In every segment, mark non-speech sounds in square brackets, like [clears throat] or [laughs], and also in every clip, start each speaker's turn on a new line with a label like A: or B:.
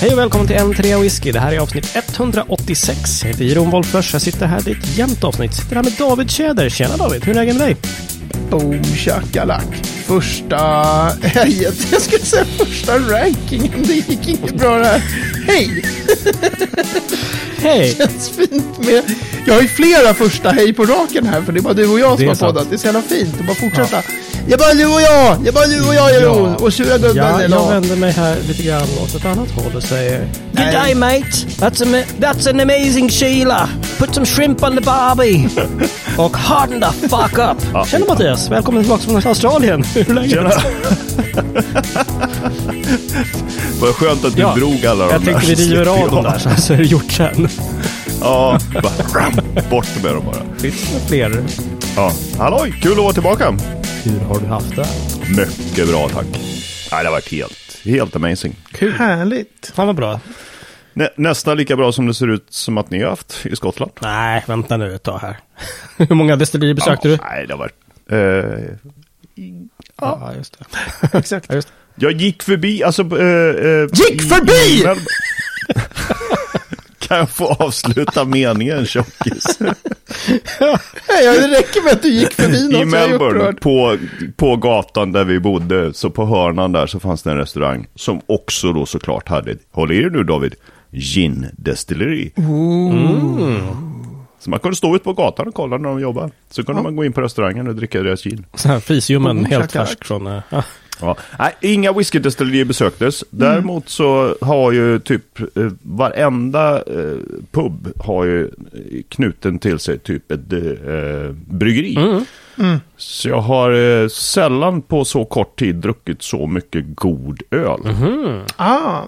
A: Hej och välkommen till N3 Whisky. Det här är avsnitt 186. Jag heter Jeroen Wolffers. Jag sitter här. Det är ett jämnt avsnitt. Jag sitter här med David Tjäder. Tjena David, hur är läget med dig?
B: Boom shakalak. Första... [laughs] Jag skulle säga första rankingen. Det gick inte bra det här. Hej!
A: Hej!
B: Känns fint med... Jag har ju flera första hej på raken här. För det är bara du och jag
A: Det
B: som
A: är
B: har
A: sant.
B: poddat. Det är så jävla fint. Det är bara att fortsätta. Jag bara du och jag. Jag bara du och jag Jeroen.
A: Ja.
B: Och sura gubben.
A: Ja,
B: eller
A: jag
B: vad?
A: vänder mig här lite grann åt ett annat håll och säger...
B: Nej.
A: Good day mate! That's, ama- that's an amazing Sheila! Put some shrimp on the [laughs] barbie! och harden the fuck up! Tjena Mattias! Välkommen tillbaka från Australien! [laughs] Hur är läget?
C: Tjena. Vad skönt att du
A: Ja,
C: drog alla
A: Jag
C: de där.
A: tänkte vi river av dem där så- så är det gjort sen.
C: Ja, bara, ram, bort med dem bara.
A: Finns det fler?
C: Ja. Halloj, kul att vara tillbaka.
A: Hur har du haft det?
C: Mycket bra tack. Nej, det har varit helt, helt amazing.
B: Härligt.
A: Fan vad bra.
C: Nä, nästan lika bra som det ser ut som att ni har haft i Skottland.
A: Nej, vänta nu ett tag här. [laughs] Hur många destillerier besökte
C: ja,
A: du?
C: Nej, det har varit... Eh,
A: Ja, just det.
B: Exakt.
A: Ja, just det.
C: jag gick förbi, alltså... Eh, eh,
B: Gick
C: i-
B: förbi!
C: i Melbourne. kan jag få avsluta meningen, tjockis?
B: Nej, ja, det räcker med att du
A: [laughs]
B: gick förbi något.
C: I
B: så jag är
C: Melbourne,
B: upprörd.
C: på, på gatan där vi bodde, så på hörnan där så fanns det en restaurang som också då såklart hade, håll i er nu David, gin-destilleri. Så man kunde stå ut på gatan och kolla när de jobbar. Så kunde man gå in på restaurangen och dricka deras gin.
A: Så här Frysljummen,
B: Och
A: helt
B: klackar.
A: färsk från... eh, ja.
C: Ja. Nej, inga whiskydestillerier besöktes.
B: Mm.
C: Däremot så har ju typ eh, varenda eh, pub har ju eh, knuten till sig typ ett eh, bryggeri.
B: Mm.
C: Så jag har eh, sällan på så kort tid druckit så mycket god öl.
A: Mhm.
B: Ah,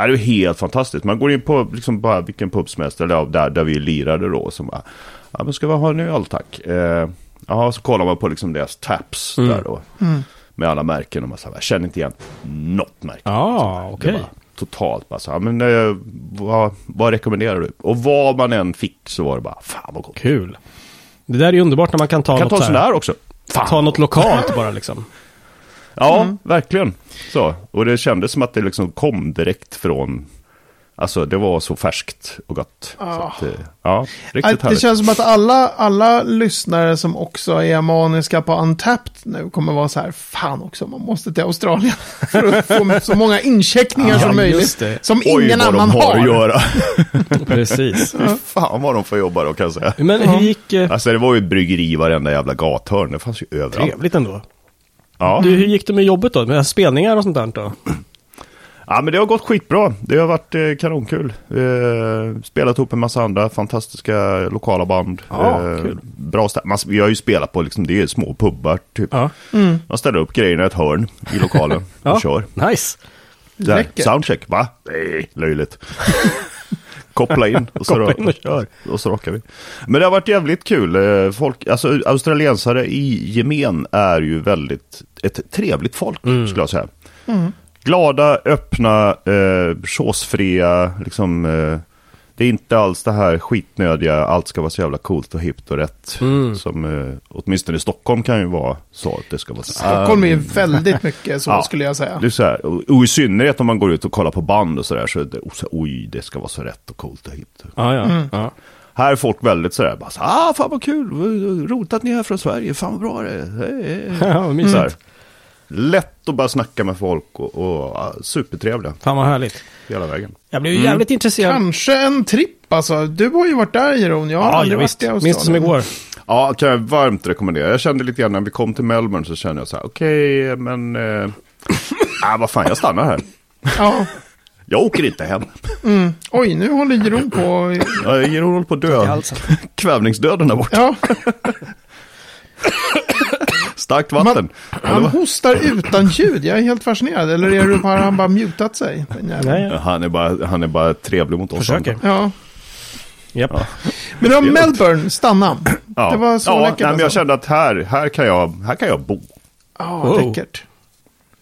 C: Ja, det är helt fantastiskt. Man går in på liksom bara vilken pub som helst, eller ja, där, där vi lirade då. Som bara, ja, men ska vi ha en öl tack? Eh, ja, så kollar man på liksom deras taps
A: Mm.
C: där då. Med alla märken och man så här, jag känner inte igen något märke.
A: Ja,
C: Det
A: okej.
C: var totalt bara så här, men eh, vad, vad rekommenderar du? Och vad man än fick så var det bara, fan vad gott.
A: Kul. Det där är ju underbart när man kan ta
C: Kan
A: något
C: ta en sån
A: här-
C: här också. Fan.
A: Ta något lokalt bara liksom.
C: Ja, Mm. verkligen. Så. Och det kändes som att det liksom kom direkt från... Alltså det var så färskt och gott. Så att, eh, ja, riktigt
B: Äh, det
C: härligt.
B: känns som att alla, alla lyssnare som också är maniska på Untapped nu kommer vara så här, fan också, man måste till Australien [laughs] för att få så många incheckningar
A: Ja,
B: som
A: just
B: möjligt.
A: det.
B: Som
C: Oj,
B: ingen
C: vad
B: annan
C: de har,
B: har. [laughs]
C: att göra.
A: Precis.
C: Fy fan vad de får jobba då kan jag säga.
A: Men hur gick... eh,
C: Alltså det var ju ett bryggeri i varenda jävla gathörn. Det fanns ju överallt.
A: Trevligt ändå.
C: Ja.
A: Du, hur gick det med jobbet då? Med spelningar och sånt där då?
C: ja, men det har gått skitbra. Det har varit eh, kanonkul. Eh, spelat ihop en massa andra fantastiska lokala band. Eh,
A: Ja, kul.
C: bra stä- man, Vi har ju spelat på liksom, det är små pubbar typ.
A: Ja.
C: Man ställer upp grejerna i ett hörn
A: [laughs]
C: i lokalen och
A: ja.
C: kör.
A: Nice.
C: Där,
B: Läckert.
C: soundcheck, va? Nej, löjligt. [laughs] Koppla in och så,
A: Koppla in och kör.
C: och så rockar vi. Men det har varit jävligt kul. Eh, Folk, alltså, australiensare i gemen är ju väldigt ett trevligt folk,
A: Mm.
C: skulle jag säga. Glada, öppna, eh, såsfria, liksom... Eh, det är inte alls det här skitnödiga, allt ska vara så jävla coolt och hippt och rätt.
A: Mm.
C: Som eh, åtminstone i Stockholm kan ju vara så att det ska vara så.
B: Stockholm
A: Um,
B: är
A: [laughs]
B: väldigt mycket så skulle jag säga.
C: Det är så här, och, och i synnerhet om man går ut och kollar på band och sådär så är det och så, oj, det ska vara så rätt och coolt och hippt.
A: Ja, ja. ja. [laughs]
C: Här är folk väldigt sådär, bara så, ah fan vad kul, vad roligt att ni är här från Sverige, fan vad bra det är. Hej, hej,
A: [laughs]
C: hej."
A: ja vad mysigt.
C: Så här, lätt att bara snacka med folk och, och ja, supertrevliga
A: Fan vad härligt.
C: hela vägen.
A: Jag blev ju jävligt intresserad.
B: Kanske en tripp alltså. Du har ju varit där Jeroen, jag har
A: Ja,
B: aldrig
A: ja
B: varit
A: visst.
B: i
A: Minns
B: Australien.
A: det som igår.
C: Ja, kan jag varmt rekommendera. Jag kände lite grann när vi kom till Melbourne så kände jag så här, okej, men, eh, ah, vad fan, jag stannar här.
B: Ja.
C: Jag åker inte hem.
B: Oj, nu håller Jeroen på.
C: Jag ger håller på att dö. [laughs] Kvävningsdöden där borta.
A: [laughs]
B: Ja,
C: Starkt vatten.
B: han hostar utan ljud. Jag är helt fascinerad. Eller är det bara han bara mutat sig? den jäveln?
A: Nej, ja.
C: Han är bara, han är bara trevlig mot oss.
A: Försöker.
C: andra.
B: Ja.
A: Japp.
B: Men om Melbourne, stanna.
C: Ja.
B: Det var så
C: ja,
B: läckert.
C: nej, men jag
B: alltså.
C: kände att här, här, kan jag, här kan jag bo.
B: Ja,
A: Wow.
B: läckert.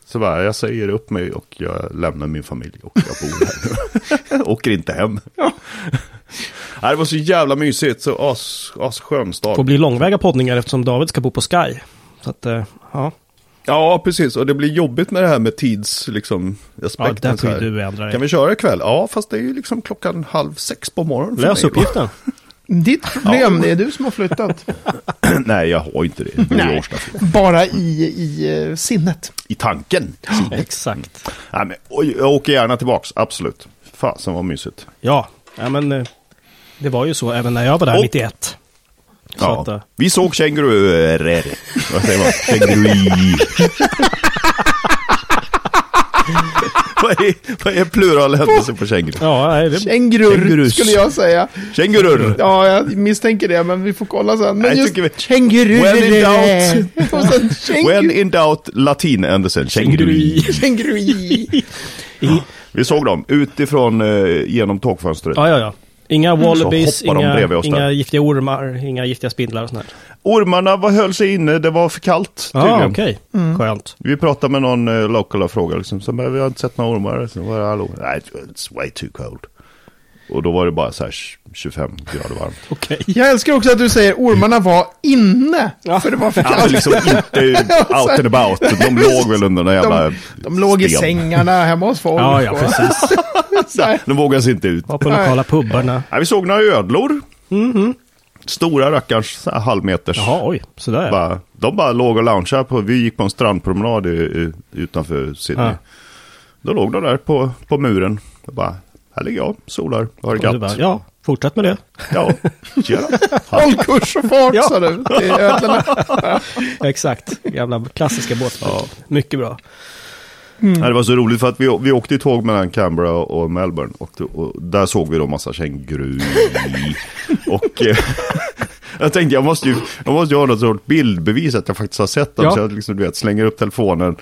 C: Så bara, jag säger upp mig och jag lämnar min familj och jag bor här [laughs] nu. Åker inte hem. [laughs] Nej, det var så jävla mysigt, så as, asskön stad.
A: Får bli långväga poddningar eftersom David ska bo på Sky. Så att, eh, ja.
D: Ja, precis. Och det blir jobbigt med det här med tids, liksom,
A: Ja,
D: aspekten. så
A: där får ju
D: här.
A: du ändra
D: Kan
A: dig.
D: vi köra ikväll? Ja, fast det är ju liksom klockan halv sex på morgonen. för
A: Lös
D: mig.
C: [laughs]
A: uppgiften.
B: Ditt problem, det är du som har flyttat.
C: [clears throat] Nej, jag har inte det. det. är
B: Nej.
C: årsdagen.
B: Bara i, i eh, sinnet.
C: I tanken.
A: Exakt.
C: Nej, men, oj, jag åker gärna tillbaks, absolut. Fasen vad mysigt.
A: Ja, ja men eh, det var ju så även när jag var där
C: Och-
A: 91. Så
C: Ja.
A: att, eh,
C: Vi såg känguruer. Vad säger man? Kängurui. vad, är, vad är pluralhändelsen på känguru?
A: ja, nej, det,
B: Kängurur
C: Kängurus.
B: skulle jag säga.
C: Kängurur.
B: Ja, jag misstänker det, men vi får kolla sen. Men
C: Nej,
B: just
C: tycker vi-
B: kängurur.
C: When in
B: [laughs]
C: doubt.
B: Och sen
C: [laughs] When
B: kängur-
C: in doubt, latinändelsen. Kängurui.
A: Kängurui.
B: kängurui.
C: [laughs] Vi såg dem utifrån eh, genom tågfönstret.
A: ja, ja, ja. Inga wallabies,
C: Mm. hoppar de bredvid
A: inga,
C: oss där.
A: inga giftiga ormar, inga giftiga spindlar och sånt där.
C: Ormarna var, höll sig inne, det var för kallt
A: Ja,
C: tydligen.
A: ah, okej.
B: Mm.
A: Skönt.
C: Vi pratade med någon eh, local och frågade liksom, så, men vi har inte sett några ormar. Så var det, hallå, nej, it's way too cold. Och då var det bara så här 25 grader varmt.
A: Okej.
B: Jag älskar också att du säger ormarna var inne.
A: Ja.
B: För det var för
C: Alltså
B: kallt.
C: liksom inte out and about. De låg väl under någon jävla
B: De, de låg i
C: sten.
B: sängarna hemma hos folk.
A: Ja, ja,
B: och-
A: precis.
B: [laughs] så här.
C: De vågade sig inte ut.
A: Var på lokala pubbarna.
C: Nej, vi såg några ödlor. Stora rackarns, så här halvmeters.
A: Jaha, oj. Sådär. ja.
C: Bara, de bara låg och loungeade. På, vi gick på en strandpromenad i, i, utanför Sydney.
A: Ja.
C: Då låg de där på, på muren. Och bara, här ligger jag, solar, har det
A: Och du bara,
C: gött.
A: ja, fortsätt med
C: [laughs]
A: det.
C: Ja, tjena.
B: Håll kurs och fart, sa du. till ödlorna.
A: Exakt. Gamla klassiska båtspel. Mycket bra. Mm.
C: Nej, det var så roligt för att vi, vi åkte i tåg mellan Canberra och Melbourne. Och, då- och där såg vi då
A: [laughs]
C: massa känguru. och eh, [laughs] jag tänkte jag måste ju jag måste ju ha något sorts bildbevis att jag faktiskt har sett dem.
A: Ja.
C: Så jag liksom, du vet, slänger upp telefonen,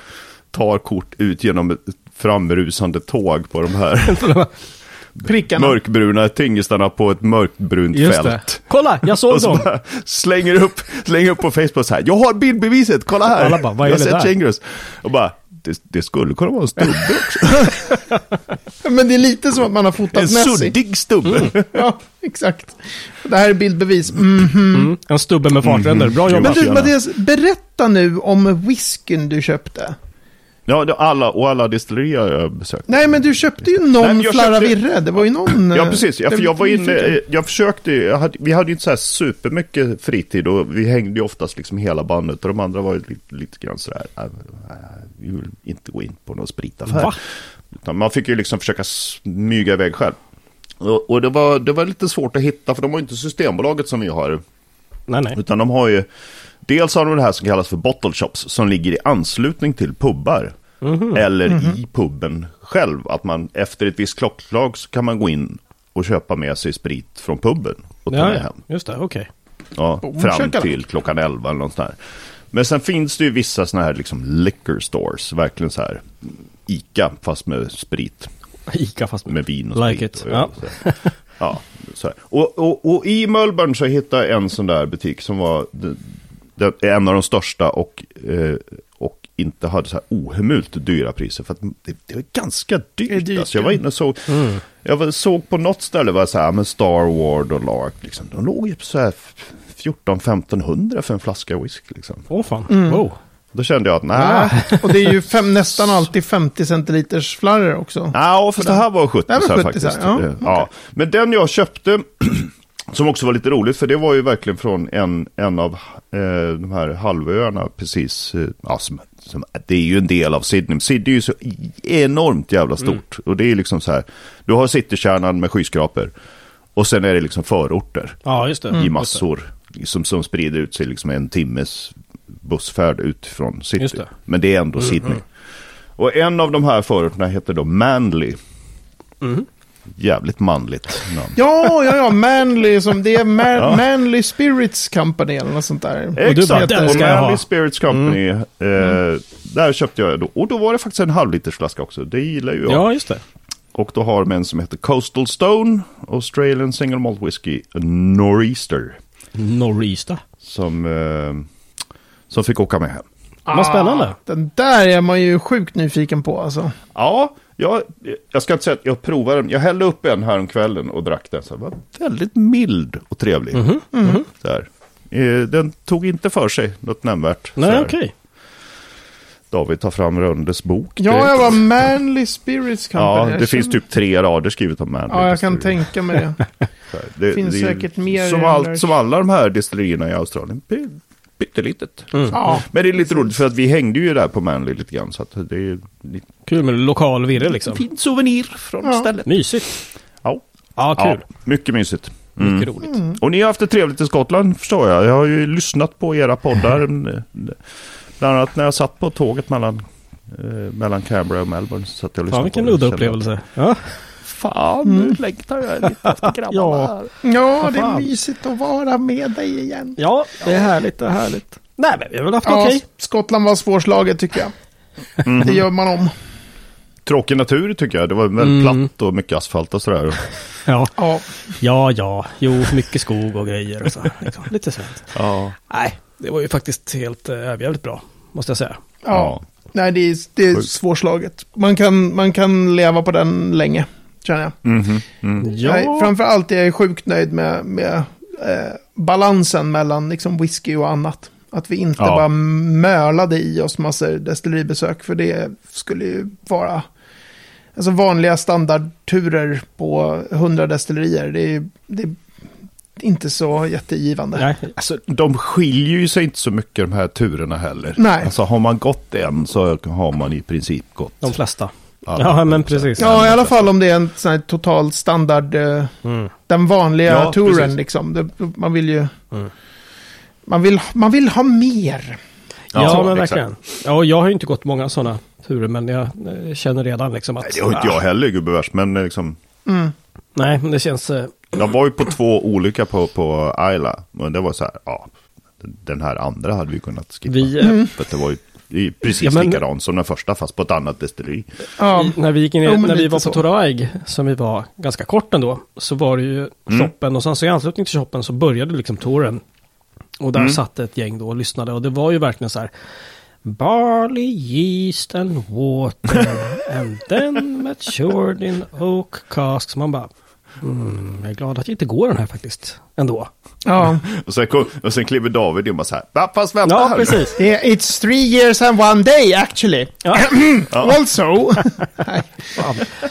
C: tar kort ut genom ett framrusande tåg på de här
B: Prickarna.
C: mörkbruna tingestarna på ett mörkbrunt
A: Just
C: fält.
A: det. Kolla, jag såg
C: Och så
A: dem.
C: bara slänger upp, slänger upp på Facebook så här. Jag har bildbeviset, kolla här.
A: Alla bara, vad är
C: jag har
A: det
C: sett
A: där?
C: kängurus. Och bara, det, det skulle kunna vara
A: [laughs]
C: en stubbe.
B: Men det är lite som att man har fotat
C: En
B: Messi.
C: suddig stubbe.
B: Ja, exakt. Det här är bildbevis. Mm.
A: Mm. En stubbe med fartränder. Bra
C: Jo,
A: jobbat.
B: Men du,
C: gärna.
B: Mattias, berätta nu om whiskyn du köpte.
C: Ja, det, alla, och alla destillerier jag besökt.
B: Nej, men du köpte ju någon
C: Nej, men jag
B: Flarra
C: köpte-
B: Virre. Det var ju någon...
C: Ja,
B: eh,
C: precis. Jag, för jag var inne, eh, jag försökte, jag hade, vi hade ju inte så här supermycket fritid och vi hängde ju oftast liksom hela bandet och de andra var ju lite, lite grann så där, "Äh, äh, vi vill inte gå in på någon spritaffär.
A: Va?
C: Utan man fick ju liksom försöka smyga iväg själv. Och, och det, var, det var lite svårt att hitta, för de har ju inte Systembolaget som vi har.
A: Nej, nej.
C: Utan de har ju, dels har de det här som kallas för bottle shops som ligger i anslutning till pubbar.
A: Mhm.
C: Eller i puben själv, att man efter ett visst klockslag så kan man gå in och köpa med sig sprit från puben och ta
A: Ja,
C: med
A: ja.
C: hem.
A: Just det, okej.
C: Ja,
B: Och
C: fram
B: käka
C: till klockan 11 eller något sånt där. Men sen finns det ju vissa sådana här liksom liquor stores, verkligen så här Ica fast med sprit
A: Ica fast
C: med vin och
A: Like
C: sprit.
A: it.
C: Och,
A: Ja.
C: så här. ja, så här. Och, och, och i Melbourne så hittade jag en sån där butik som var de- de- en av de största och, eh, och inte hade så här ohemult dyra priser. För att det, det var ganska dyrt.
B: Det är dyrt,
C: alltså. Jag var inne och såg, jag var, såg på något ställe, var så här, men Star Wars och Lark, liksom. de låg ju på så här 14-1500 för en flaska whisky. Liksom.
A: Åh fan. Wow.
C: Då kände jag att nej,
B: Ja, och det är ju fem, nästan alltid 50 centiliters flarror också.
C: Ja, fast det här var 70
B: Det här var 70
C: faktiskt.
B: ja,
C: Eh, ja. Men den jag köpte, [clears throat] som också var lite roligt, för det var ju verkligen från en, en av eh, de här halvöarna precis. Eh, ja, som, som, det är ju en del av Sydney. Sydney är ju så enormt
B: Mm.
C: jävla stort. Och det är liksom så här, du har citykärnan med skyskrapor. Och sen är det liksom förorter
A: Ja, just det.
C: i
A: Mm.
C: massor. Som, som sprider ut sig liksom en timmes bussfärd ut från
A: Just
C: city.
A: det. Mm,
C: Men det är ändå Sydney. Och en av de här förorterna heter då Manly.
A: Mm.
C: Jävligt manligt namn.
B: Ja, ja, ja, Manly, som det är Man, Manly Spirits Company eller något sånt där.
A: du bara,
C: Exakt,
A: "Den
C: och
A: ska jag
C: Manly
A: ha." Mm.
C: Spirits Company. Eh, där köpte jag då. Och då var det faktiskt en halvlitersflaska också. Det gillar ju jag.
A: Ja, just det.
C: Och då har de en som heter Coastal Stone, Australian Single Malt Whisky, Nor'easter.
A: Norrista.
C: Som, eh, som fick åka med hem.
A: Vad spännande.
B: Ah, Den där är man ju sjukt nyfiken på alltså.
C: Ja, jag, jag ska inte säga att jag provade den. Jag hällde upp en här om kvällen och drack den. Så den var väldigt mild och trevlig.
A: Mhm,
C: Mm. Så här. Eh, Den tog inte för sig något nämnvärt. så
A: Nej,
C: här.
A: okej.
C: David tar fram Röndes bok.
B: Ja,
C: direkt.
B: jag var Manly Spirits
C: ja
B: Company.
C: det
B: Jag
C: finns
B: känner-
C: typ tre rader skrivet om Manly.
B: Ja, jag kan
C: Distillery.
B: tänka mig
A: [laughs]
B: det.
C: Det
B: finns
C: är
B: säkert mer
C: Som,
B: i
C: allt,
B: Anders.
C: som alla de här destillerierna i Australien. Py- Pyttelitet.
A: Mm.
B: Ja,
C: Men det är lite roligt för att vi hängde ju där på Manly lite grann. Så att det är lite
A: Kul med lokal virre liksom.
C: fint souvenir från
B: Ja.
C: stället.
A: Mysigt.
C: Ja.
A: Ja,
C: ja, Mm.
A: kul.
C: mycket mysigt.
A: Mycket roligt.
C: Och ni har haft det trevligt i Skottland förstår jag. Jag har ju lyssnat på era poddar.
A: [laughs]
C: eh, Bland annat när jag satt på tåget mellan, eh, mellan Canberra och Melbourne. Så att jag lyssnade
A: Fan vilken
C: på det.
A: udda upplevelse. Ja.
C: Fan, nu längtar jag lite efter grabbarna
A: Mm. Ja.
C: här.
B: ja det är
A: fan.
B: mysigt att vara med dig igen.
A: ja, det är härligt. Det är härligt. Eh, Nej, men vi har väl haft
B: Ja,
A: okej.
B: Skottland var svårslaget tycker jag. Det gör man om.
C: Mm. Tråkig natur tycker jag. Det var
A: Mm.
C: väldigt platt och mycket asfalt och sådär.
A: Ja.
B: Ja,
A: ja, ja. Jo, mycket skog och grejer och så. Liksom. Lite sånt.
C: Ja.
A: Nej, det var ju faktiskt helt eh, överjävligt bra. Måste jag säga.
B: ja. Nej, det är, det är
C: Sjukt.
B: svårslaget. Man kan, man kan leva på den länge, känner jag.
C: Mhm, mm.
B: Jag, framförallt är jag sjukt nöjd med, med eh, balansen mellan liksom whisky och annat. Att vi inte
C: Ja.
B: bara mölade i oss massor destilleribesök, för det skulle ju vara... Alltså vanliga standardturer på 100 destillerier, det är, det är inte så jättegivande.
A: Nej,
C: Alltså, de skiljer ju sig inte så mycket de här turerna heller.
B: Nej.
C: Alltså har man gått en så har man i princip gått
A: de flesta.
C: alla.
A: Ja, men precis.
B: Ja, i alla fall om det är en sån här total standard, eh,
C: Mm.
B: den vanliga
C: Ja,
B: touren
C: precis. Mm.
B: liksom. Det, man vill ju... Man, vill, man vill ha mer.
A: Ja,
C: Ja,
A: men
C: exakt.
A: verkligen. Ja, och jag har ju inte gått många sådana turer, men jag eh, känner redan liksom att...
C: Nej, det har inte jag heller gubevars. Men eh, liksom,
B: Mm.
A: Nej, men det känns... eh,
C: jag var ju på två olika på, på Isla. Men det var så här, ja. Den här andra hade vi kunnat skippa.
A: Vi, eh, Mm.
C: För att det var ju det är precis
A: Ja, men-
C: likadan som den första fast på ett annat destilleri.
B: Ja,
A: I, när vi, gick in, i-
B: Jo, men
A: när vi
B: lite
A: var på
B: så.
A: Toraig, som vi var ganska kort ändå, så var det ju
B: Mm.
A: shoppen och sen så i anslutning till shoppen så började liksom touren. Och
B: Mm.
A: där satt ett gäng då och lyssnade och det var ju verkligen så här Barley, yeast and
B: [laughs]
A: water and then matured in oak casks. Man bara, mm, jag är glad att jag inte går den här faktiskt ändå.
B: ja.
C: Och sen, kom, och sen kliver David in och bara så här, "Va, fast vänta
A: Ja,
C: här nu."
A: precis.
B: Det är- It's three years and one day actually. [clears throat]
A: Ja.
B: Also. Nej.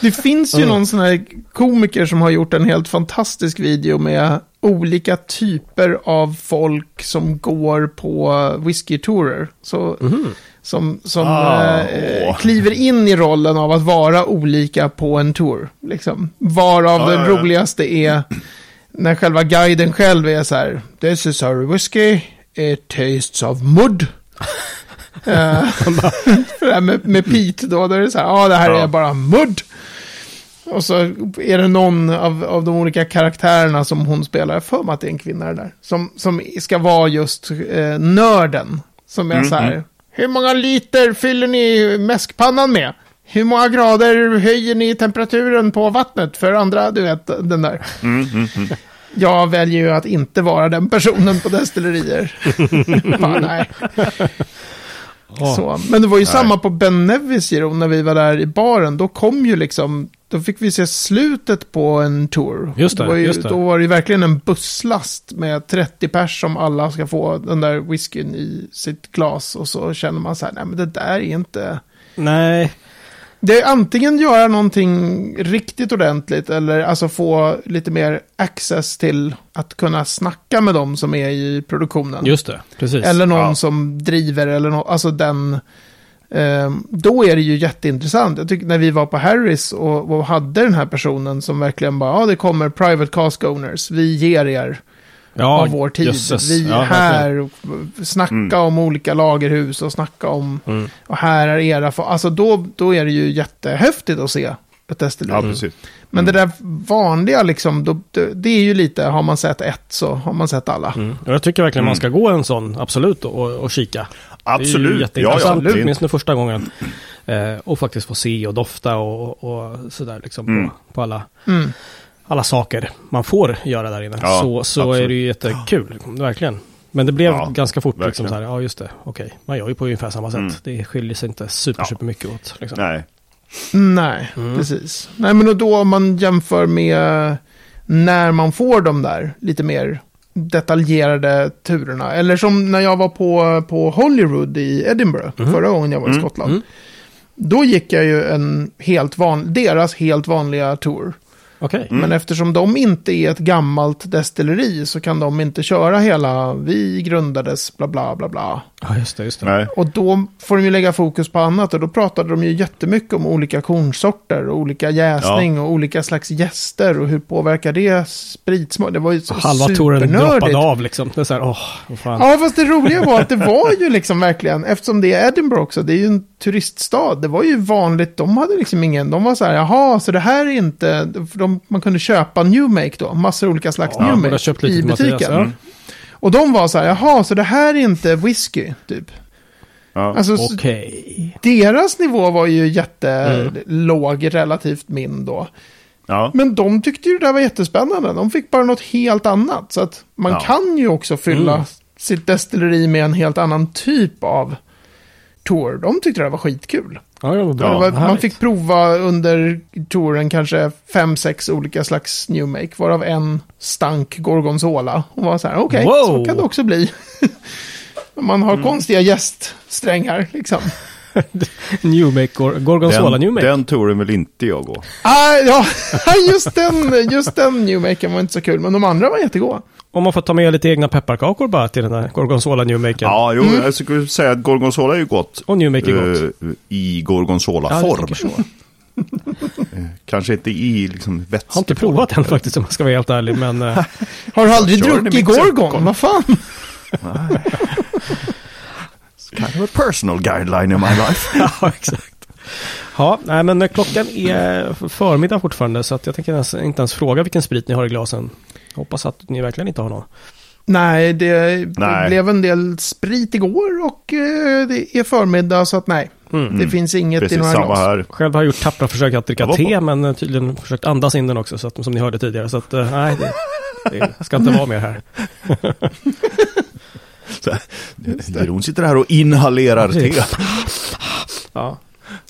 B: det finns ju någon sån här komiker som har gjort en helt fantastisk video med olika typer av folk som går på whiskytourer. Så, Som, som
C: Ah,
B: eh,
C: åh.
B: kliver in i rollen av att vara olika på en tour. Liksom. Varav
C: Ja,
B: den
C: ja, ja.
B: roligaste är när själva guiden själv är så här. This is our whiskey. It tastes of mud. Eh, för det här med, med Pete då, då är det så här, ja ah, det här
C: Ja.
B: är bara mudd. Och så är det någon av, av de olika karaktärerna som hon spelar, jag har för mig att det är en kvinna det där, som, som ska vara just eh, nörden. Som är så här, hur många liter fyller ni mäskpannan med? Hur många grader höjer ni temperaturen på vattnet för andra, du vet, den där. Jag väljer ju att inte vara den personen på destillerier. [laughs] Fan, nej. Så. Men det var ju samma på Ben Nevis Giro, när vi var där i baren. Då kom ju liksom, då fick vi se slutet på en tour.
A: Just det,
B: var ju,
A: just det.
B: Då var det ju verkligen en busslast med 30 pers som alla ska få den där whiskyn i sitt glas. Och så känner man så här, nej men det där är inte...
A: Nej,
B: Det är antingen göra någonting riktigt ordentligt eller alltså få lite mer access till att kunna snacka med dem som är i produktionen.
A: just det. Precis.
B: Eller någon
C: Ja.
B: som driver eller någon, alltså den. ehm, då är det ju jätteintressant. Jag tycker när vi var på Harris och, och hade den här personen som verkligen bara, ja ah, det kommer private cask owners, vi ger er
A: ja,
B: av vår tid.
A: jösses.
B: Vi
A: Ja,
B: är
A: verkligen.
B: här, och snacka om olika lagerhus och snacka om,
A: Mm.
B: och här är era, fa- alltså då, då är det ju jättehäftigt att se ett destilleri.
C: Ja,
A: Mm.
C: precis.
B: Men det där vanliga liksom, då, det, det är ju lite, har man sett ett så har man sett alla.
A: Mm. Och Jag tycker verkligen man ska gå en sån, absolut, och, och kika. Det är ju
C: Absolut. Ja, ja,
A: jätteintressant,
C: det är inte-
A: åtminstone första gången. Eh, och faktiskt få se och dofta och, och sådär liksom
C: Mm.
A: på, på alla,
B: Mm.
A: alla saker man får göra där inne.
C: Ja,
A: så så
C: absolut.
A: är det ju jättekul, liksom, verkligen. Men det blev
C: Ja,
A: ganska fort liksom
C: verkligen. Mm.
A: så här, ja just det, okej, man gör ju på ungefär samma sätt. Det skiljer sig inte super,
C: Ja.
A: super mycket åt. Liksom.
C: Nej.
B: Nej, precis. Nej, men och då om man jämför med när man får de där lite mer detaljerade turerna. Eller som när jag var på, på Holyrood i Edinburgh förra gången jag var i Skottland.
A: Mm.
B: Då gick jag ju en helt van, deras helt vanliga tour.
A: Okej.
C: Mm.
B: Men eftersom de inte är ett gammalt destilleri så kan de inte köra hela, vi grundades bla bla bla bla.
A: Ja, just det, just det.
C: Nej.
B: Och då får de ju lägga fokus på annat och då pratade de ju jättemycket om olika kornsorter och olika jäsning och olika slags gäster och hur påverkar det spritsmak? Det var ju så
A: Halva touren droppade
B: supernördigt.
A: av liksom. Det är så här, åh, vad fan.
B: Ja, fast det roliga var att det var ju liksom verkligen, eftersom det är Edinburgh också, det är ju en turiststad, det var ju vanligt, de hade liksom ingen, de var så här, jaha, så det här är inte, för de, man kunde köpa New Make då, massor olika slags
A: Ja,
B: New
A: borde ha
B: Make
A: köpt lite
B: i
A: till Mattias,
B: butiken.
A: ja.
B: Och de var så här, jaha, så det här är inte whisky, typ.
C: Ja.
B: Alltså, så-
A: Okej.
B: deras nivå var
A: Mm.
B: ju jättelåg relativt min då.
C: Ja.
B: Men de tyckte ju det där var jättespännande. De fick bara något helt annat. Så att man
C: Ja.
B: kan ju också fylla
A: Mm.
B: sitt destilleri med en helt annan typ av tour. De tyckte det där var skitkul.
A: Ja, det var bra.
B: det var, man
A: Härligt.
B: fick prova under touren kanske fem, sex olika slags new make. Varav en stank gorgonzola. Och var så här, okej,
A: Wow. Mm.
B: så kan det också bli. [laughs] man har konstiga gäststrängar liksom.
A: Newmake, Gor- Gorgonzola
C: Den,
A: Newmake.
C: den touren vill inte jag gå.
B: Ah, ja, [laughs] just den, just den newmaken var inte så kul, men de andra var jättegoda.
A: Om man får ta med lite egna pepparkakor bara till den där Gorgonzola Newmaken.
C: Ja, jo, jag skulle säga att Gorgonzola är ju gott.
A: Och Newmake är gott.
C: Eh, I Gorgonzola-form. Eh, Kanske inte i liksom
A: Har
C: vätska.
A: inte provat den faktiskt om jag ska vara helt ärlig. Men,
C: [laughs]
A: eh,
B: Har du aldrig
C: Kör ni
B: druckit
C: mycket
B: Gorgon? Vad fan?
C: Kind of a personal guideline in my life.
A: ja, exakt. Ja, nej, men eh, klockan är förmiddag fortfarande så att jag tänker ens, inte ens fråga vilken sprit ni har i glasen. Jag hoppas att ni verkligen inte har någon.
B: Nej, det
C: Nej.
B: blev en del sprit igår och eh, det är förmiddag, så att nej. Det finns inget i
C: Precis
B: några
C: samma
B: glas.
C: här.
A: Mm. Själv har jag gjort tappra försök att dricka
C: Mm. Jag var på-
A: te, men eh, tydligen försökt andas in den också, så att, som ni hörde tidigare. Så att, eh, nej, det, det ska inte vara mer här.
C: Så här, Jeroen sitter här och inhalerar te.
A: Precis. Ja.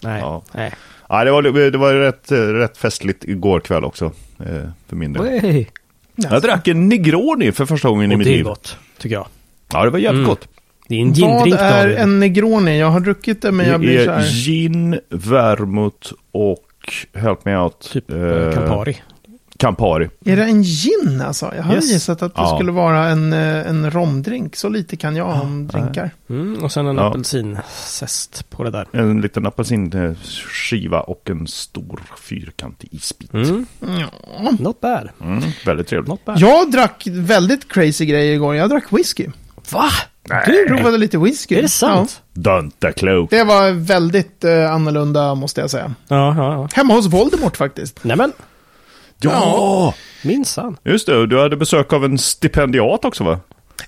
A: Nej.
C: Ja.
A: nej.
C: Ja, det var, det var rätt, eh, rätt festligt igår kväll också. eh, För min del.
A: Oj.
C: Jag drack en Negroni för första gången i
A: Och
C: mitt
A: det är
C: liv.
A: gott, tycker jag.
C: Ja, det var jävligt
A: Mm.
C: gott.
A: Det är en
B: Vad
A: gindrink
B: är
A: David.
B: en Negroni? Jag har druckit det, men jag
C: det
B: blir
C: är
B: så här...
C: Eh, gin, vermouth och, help me out,
A: Typ
C: eh,
A: eh, Campari.
C: Campari.
B: Är det en gin alltså? Jag hade
A: Yes.
B: gissat att det
C: Ja.
B: skulle vara en, eh, en romdrink. Så lite kan jag
C: Ah,
B: om drinkar.
A: Mm, och sen en
C: Ja.
A: apelsinzest på det där.
C: En liten apelsinskiva och en stor fyrkantig isbit.
A: Mm.
B: Ja.
A: Not bad.
C: Mm, väldigt trevligt.
A: Not bad.
B: Jag drack väldigt crazy grejer igår. Jag drack whisky.
A: Va?
B: Du provade lite whisky.
A: Är det sant?
C: Dante Cloak.
B: Ja, det var väldigt eh, annorlunda måste jag säga.
A: Ja, ja, ja.
B: Hemma hos Voldemort faktiskt.
A: Nej men,
C: Ja!
A: minsann.
C: Just det, och du hade besök av en stipendiat också va?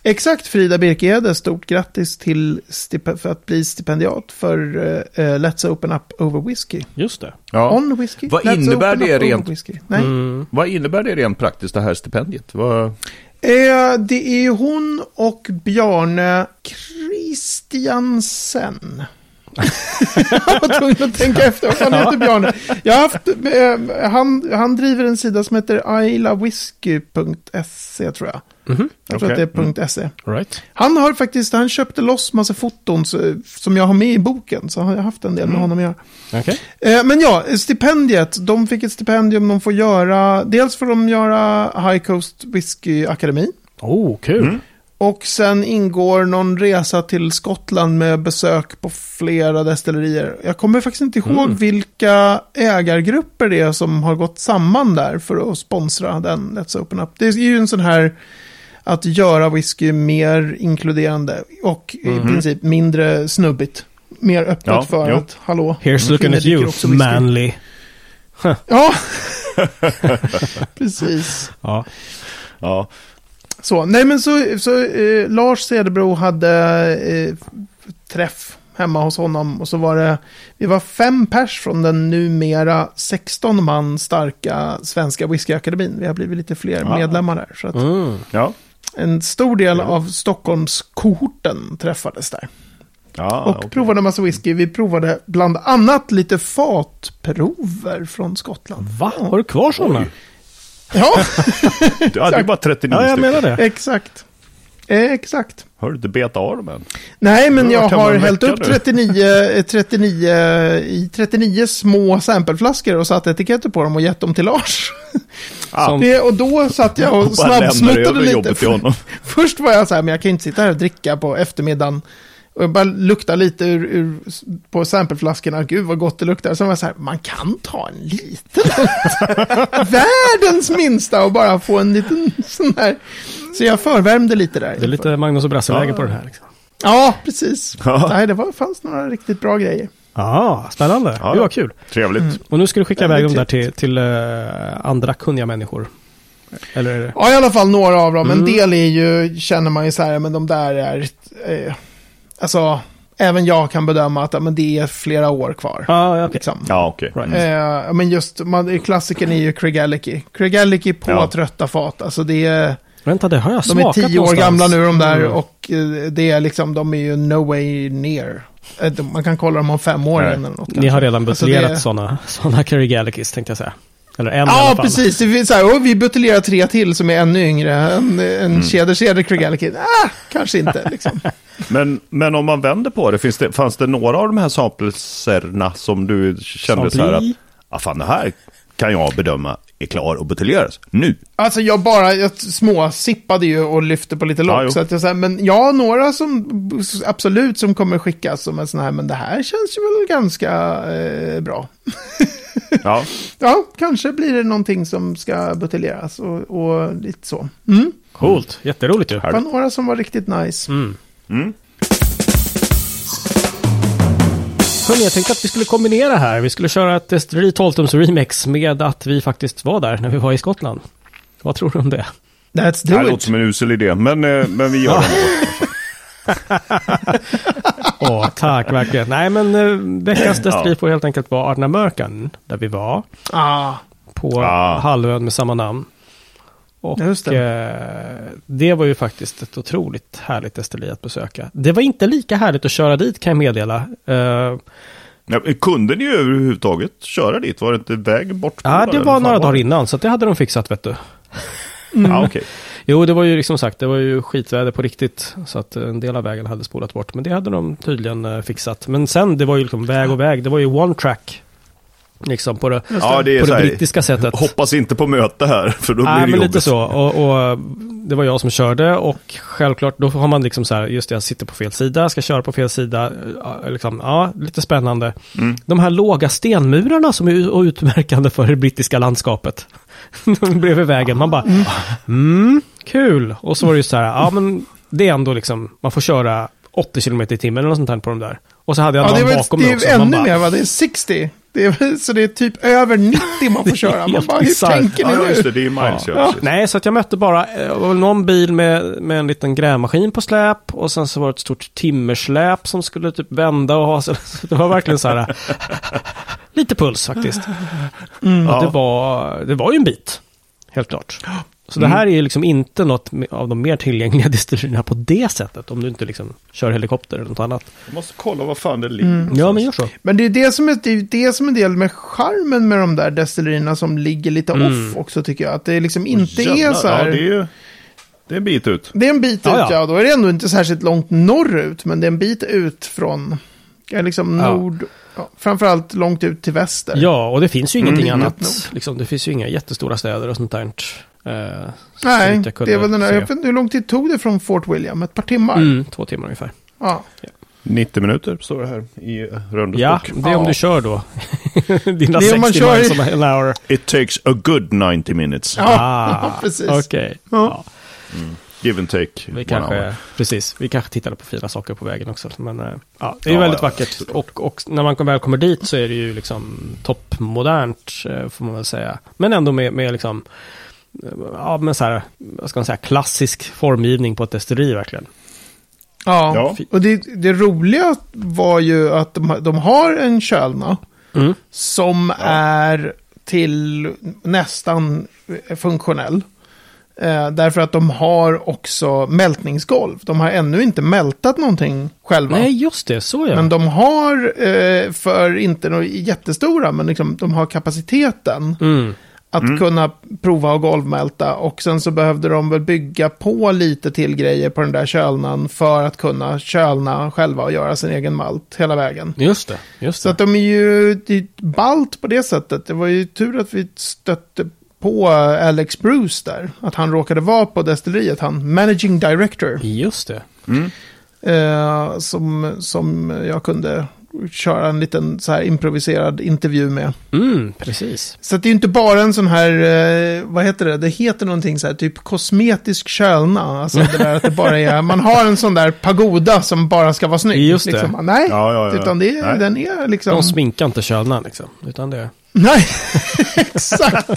B: Exakt Frida Birkehede, stort grattis till stip- för att bli stipendiat för eh, eh, Let's Open Up Over Whiskey.
A: Just det.
B: On Whiskey.
C: Vad
B: Let's
C: innebär
B: open
C: det
B: up over
C: rent-
B: Whiskey. Nej.
A: Mm.
C: Vad innebär det rent praktiskt det här stipendiet? Vad...
B: Eh, det är ju hon och Bjarne Christiansen. [laughs] jag var tvungen att tänka efter. Vad fan heter Bjarne? Jag har haft, eh, han, han driver en sida som heter ilavhisky.se E, tror jag.
A: Mhm.
B: Jag tror
C: Okej.
B: att det är .se.
A: Right.
B: Han har faktiskt, han köpte loss massa foton så, som jag har med i boken. Så har jag haft en del med honom att göra.
A: Okej.
B: Eh, Men ja, stipendiet. De fick ett stipendium de får göra. Dels får de göra High Coast Whisky Akademi.
A: Oh, kul.
C: Mm.
B: Och sen ingår någon resa till Skottland med besök på flera destillerier. Jag kommer faktiskt inte ihåg
C: Mm.
B: vilka ägargrupper det är som har gått samman där för att sponsra den Let's Open Up. Det är ju en sån här att göra whisky mer inkluderande och i princip mindre snubbigt. Mer öppet
C: Mhm. Ja,
B: för
C: jo.
B: att, hallå,
A: Here's looking
B: kvinnor
A: at
B: dricker
A: you,
B: Mm. också whisky.
A: manly.
C: [laughs]
B: Ja, [laughs] precis.
A: Ja.
C: Ja.
B: Så, nej men så, så eh, Lars Cederbro hade eh, träff hemma hos honom och så var det, vi var fem pers från den numera 16 man starka Svenska Whiskyakademin. Vi har blivit lite fler
C: Ah.
B: medlemmar där. Så att
A: Mm.
C: Ja.
B: en stor del av Stockholmskohorten träffades där.
C: ja
B: och
C: Ah, okej.
B: provade en massa whisky. Vi provade bland annat lite fatprover från Skottland.
A: Va? Har du kvar sådana?
C: Mm.
B: Ja, [laughs]
C: Du hade ju bara 39
A: Ja, jag menar
C: stycken.
A: det.
B: exakt. Eh, Exakt.
C: Har du inte betat av dem än?
B: Nej, men
C: Vart
B: jag
C: kan man
B: har hällt
C: väcka
B: upp
C: nu?
B: 39, eh, 39, i 39 små sampleflaskor och satt etiketter på dem och gett dem till Lars.
A: Som-
B: Det, och då satt jag och
C: [laughs] Bara lämnar
B: snabbsmuttade
C: över jobbet till
B: lite.
C: honom.
B: [laughs]
C: [laughs]
B: Först var jag så här, men jag kan ju inte sitta här och dricka på eftermiddagen. Och jag bara lukta lite ur, ur, på sampleflaskorna, gud vad gott det luktar. Sen var jag så här, man kan ta en liten. [laughs] Världens minsta och bara få en liten sån här. Så jag förvärmde lite där.
A: Det är lite Magnus och Brasse-läge på den här. Liksom.
B: Ja, precis.
C: Ja.
B: Nej, det var, fanns några riktigt bra grejer.
A: Ja, spännande.
C: Ja.
A: det var kul.
C: Trevligt.
A: Och nu ska du skicka
B: Ja,
A: iväg dem
B: det
A: där
B: är
A: till, till eh, andra kunniga människor. Eller är det?
B: Ja, i alla fall några av dem.
A: Mm.
B: En del är ju, känner man ju så här, men de där är... Eh, alltså, även jag kan bedöma att ja, men det är flera år kvar.
A: Ja, okej.
B: Liksom.
C: Ja, okej.
A: Right.
C: Mm.
B: Eh, men just man, klassiken är ju Craigalicky. Craigalicky på
C: Ja.
B: trötta fat. Alltså det är,
A: Vänta, det har jag
B: de är
A: smakat
B: tio år
A: någonstans.
B: gamla nu de där
A: Mm.
B: och eh, det är liksom, de är ju no way near. Eh, de- Man kan kolla dem om fem år
C: Nej.
B: eller något.
A: Ni har redan
B: Alltså,
A: buteljerat
B: det-
A: sådana såna Carrigalicus tänkte jag säga. Eller en i
B: Ja,
A: alla fall.
B: precis. Det finns så här, och vi buteljerar tre till som är ännu yngre. En,
C: Mm.
B: en tjäder-tjäder Craigalicky. Ah, kanske
C: [laughs]
B: inte liksom.
C: Men, men om man vänder på det, finns det, fanns det några av de här sampelserna som du kände så här att,
A: Sampli.
C: ah, fan det här kan jag bedöma är klar och buteljeras nu.
B: Alltså jag bara, jag småsippade ju och lyfte på lite lock.
C: Ja, jo.
B: så att jag så här, men ja, några som absolut som kommer skickas som en sån här, men det här känns ju väl ganska eh, bra.
C: Ja,
B: Ja, kanske blir det någonting som ska buteljeras och, och lite så. Mm.
A: Coolt, jätteroligt ju.
B: Det var några som var riktigt nice.
C: Mm.
A: Hörrni, jag tänkte att vi skulle kombinera här. Vi skulle köra ett Esterili 12-tums remix med att vi faktiskt var där när vi var i Skottland. Vad tror du om
B: [laughs]
A: det?
B: That's
C: det här
B: do
C: låter
B: it.
C: som en usel idé, men, eh, men vi gör det.
A: Åh, tack verkligen. Nej, men eh, veckans Esterili får helt enkelt vara Arna Mörkan, där vi var.
B: Ah,
A: på
C: Ah.
A: halvön med samma namn. Och
B: Just det.
A: det. Eh, det var ju faktiskt ett otroligt härligt Esteli att besöka. Det var inte lika härligt att köra dit kan jag meddela. Eh,
C: Ja, men Kunde ni överhuvudtaget köra dit? Var det inte väg bort?
A: ja, det var några dagar innan så att det hade de fixat vet du.
C: innan. Ja, okej.
A: Jo, det var ju liksom sagt, det var ju skitväder på riktigt. Så att en del av vägen hade spolat bort. Men det hade de tydligen eh, fixat. Men sen, det var ju liksom väg och väg. Det var ju one track. Liksom på det,
C: ja, det är
A: på
C: så
A: det
C: här,
A: brittiska sättet.
C: hoppas inte på möte här, för då blir
A: Nej,
C: det
A: men
C: jobbigt.
A: lite så. Och, och det var jag som körde och självklart då har man liksom så här, just det, jag sitter på fel sida, ska köra på fel sida. eh, Liksom, ja, lite spännande.
B: Mm.
A: De här låga stenmurarna som är u- utmärkande för det brittiska landskapet. [laughs] De bredvid vägen, man bara, mm, kul. Och så var det ju så här, ja men det är ändå liksom, man får köra 80 km i timmen eller något sånt här på de där. Och så hade jag
B: ja, det
A: någon
B: var
A: bakom
B: det
A: mig
B: är
A: också.
B: ju
A: Man
B: ännu
A: bara,
B: mer va? Det är 60. Det är, så det är typ över 90 man
A: [laughs]
B: får köra. Man
A: helt
B: bara, hur
A: bisarrt.
B: tänker
C: Ja,
B: ni
C: ja,
B: nu?
C: just det, det är ju miles. Ja. precis.
A: Nej, så att jag mötte bara eh, det var någon bil med, med en liten grävmaskin på släp och sen så var det ett stort timmersläp som skulle typ vända och ha så [laughs] så det var verkligen så här [laughs] lite puls faktiskt.
B: Mm.
A: Och det, var, det var ju en bit, helt klart. Så
B: Mm.
A: det här är ju liksom inte något me- av de mer tillgängliga [laughs] destillerierna på det sättet, om du inte liksom kör helikopter eller något annat.
C: Jag måste kolla vad fan det ligger.
A: Ja, men gör så.
B: Men det är det som är, det är det som är del med charmen med de där destillerierna som ligger lite
A: Mm.
B: off också tycker jag. Att det liksom inte är
C: Jävlar,
B: så här.
C: Ja, det är
B: det, är...
C: ju... Det är en bit ut.
B: en bit
A: Ja,
B: ut
A: ja.
B: ja. Då är det ändå inte särskilt långt norrut. Men det är en bit ut från, ja, liksom
A: Ja.
B: nord, ja, framförallt långt ut till väster.
A: Ja, och det finns ju ingenting
B: Mm.
A: annat. Liksom, det finns ju inga jättestora städer och sånt där. Eh, så
B: Nej,
A: vitt jag kunde
B: det var den där,
A: se.
B: jag vet inte hur lång tid tog det från Fort William? Ett par timmar?
A: Mm, två timmar ungefär.
B: Ja.
C: 90 minuter står det här i Rönners
A: Ja,
C: bok.
A: det är om
B: Ja.
A: du kör då. [laughs] Dina
B: Det är
A: 60
B: om man
A: man
B: kör i-
A: miles an hour.
C: It takes a good 90 minutes.
B: Ja.
A: Ah,
B: precis.
A: Okej. Ja,
C: Give and take.
A: vi
C: one hour.
A: kanske, precis, vi kanske tittade på fina saker på vägen också. Men eh, ja, det är
C: Ja,
A: väldigt
C: ja,
A: vackert.
C: absolut.
A: Och, och när man väl kommer dit så är det ju liksom toppmodernt, eh, får man väl säga. Men ändå med, med liksom, eh, ja men så här, vad ska man säga, klassisk formgivning på ett destilleri verkligen.
B: Ja,
C: Ja.
B: och det, det roliga var ju att de, de har en kölna
A: Mm.
B: som är till nästan funktionell. Eh, därför att de har också mältningsgolv. De har ännu inte mältat någonting själva.
A: Nej, just det, så ja.
B: Men de har, eh, för inte några jättestora, men liksom, de har kapaciteten
A: mm.
B: Att kunna prova att golvmälta. Och sen så behövde de väl bygga på lite till grejer på den där kölnan för att kunna kölna själva och göra sin egen malt hela vägen.
A: Just det, just
B: Så
A: det.
B: att de är ju det är ett balt på det sättet. Det var ju tur att vi stötte på eh, Alex Bruce där. Att han råkade vara på destilleriet, han managing director.
A: Just det.
B: Eh, som, som jag kunde köra en liten så här improviserad intervju med.
A: Mm, precis.
B: Så att det är ju inte bara en sån här, eh, vad heter det, det heter någonting så här, typ kosmetisk kölna. Alltså det där att det bara är, man har en sån där pagoda som bara ska vara snygg.
A: Just det.
B: Liksom. Nej,
C: Ja, ja, ja.
B: utan det, är-
C: Nej.
B: den är liksom...
A: De sminkar inte kölna liksom. Utan det...
B: Nej, [laughs] exakt.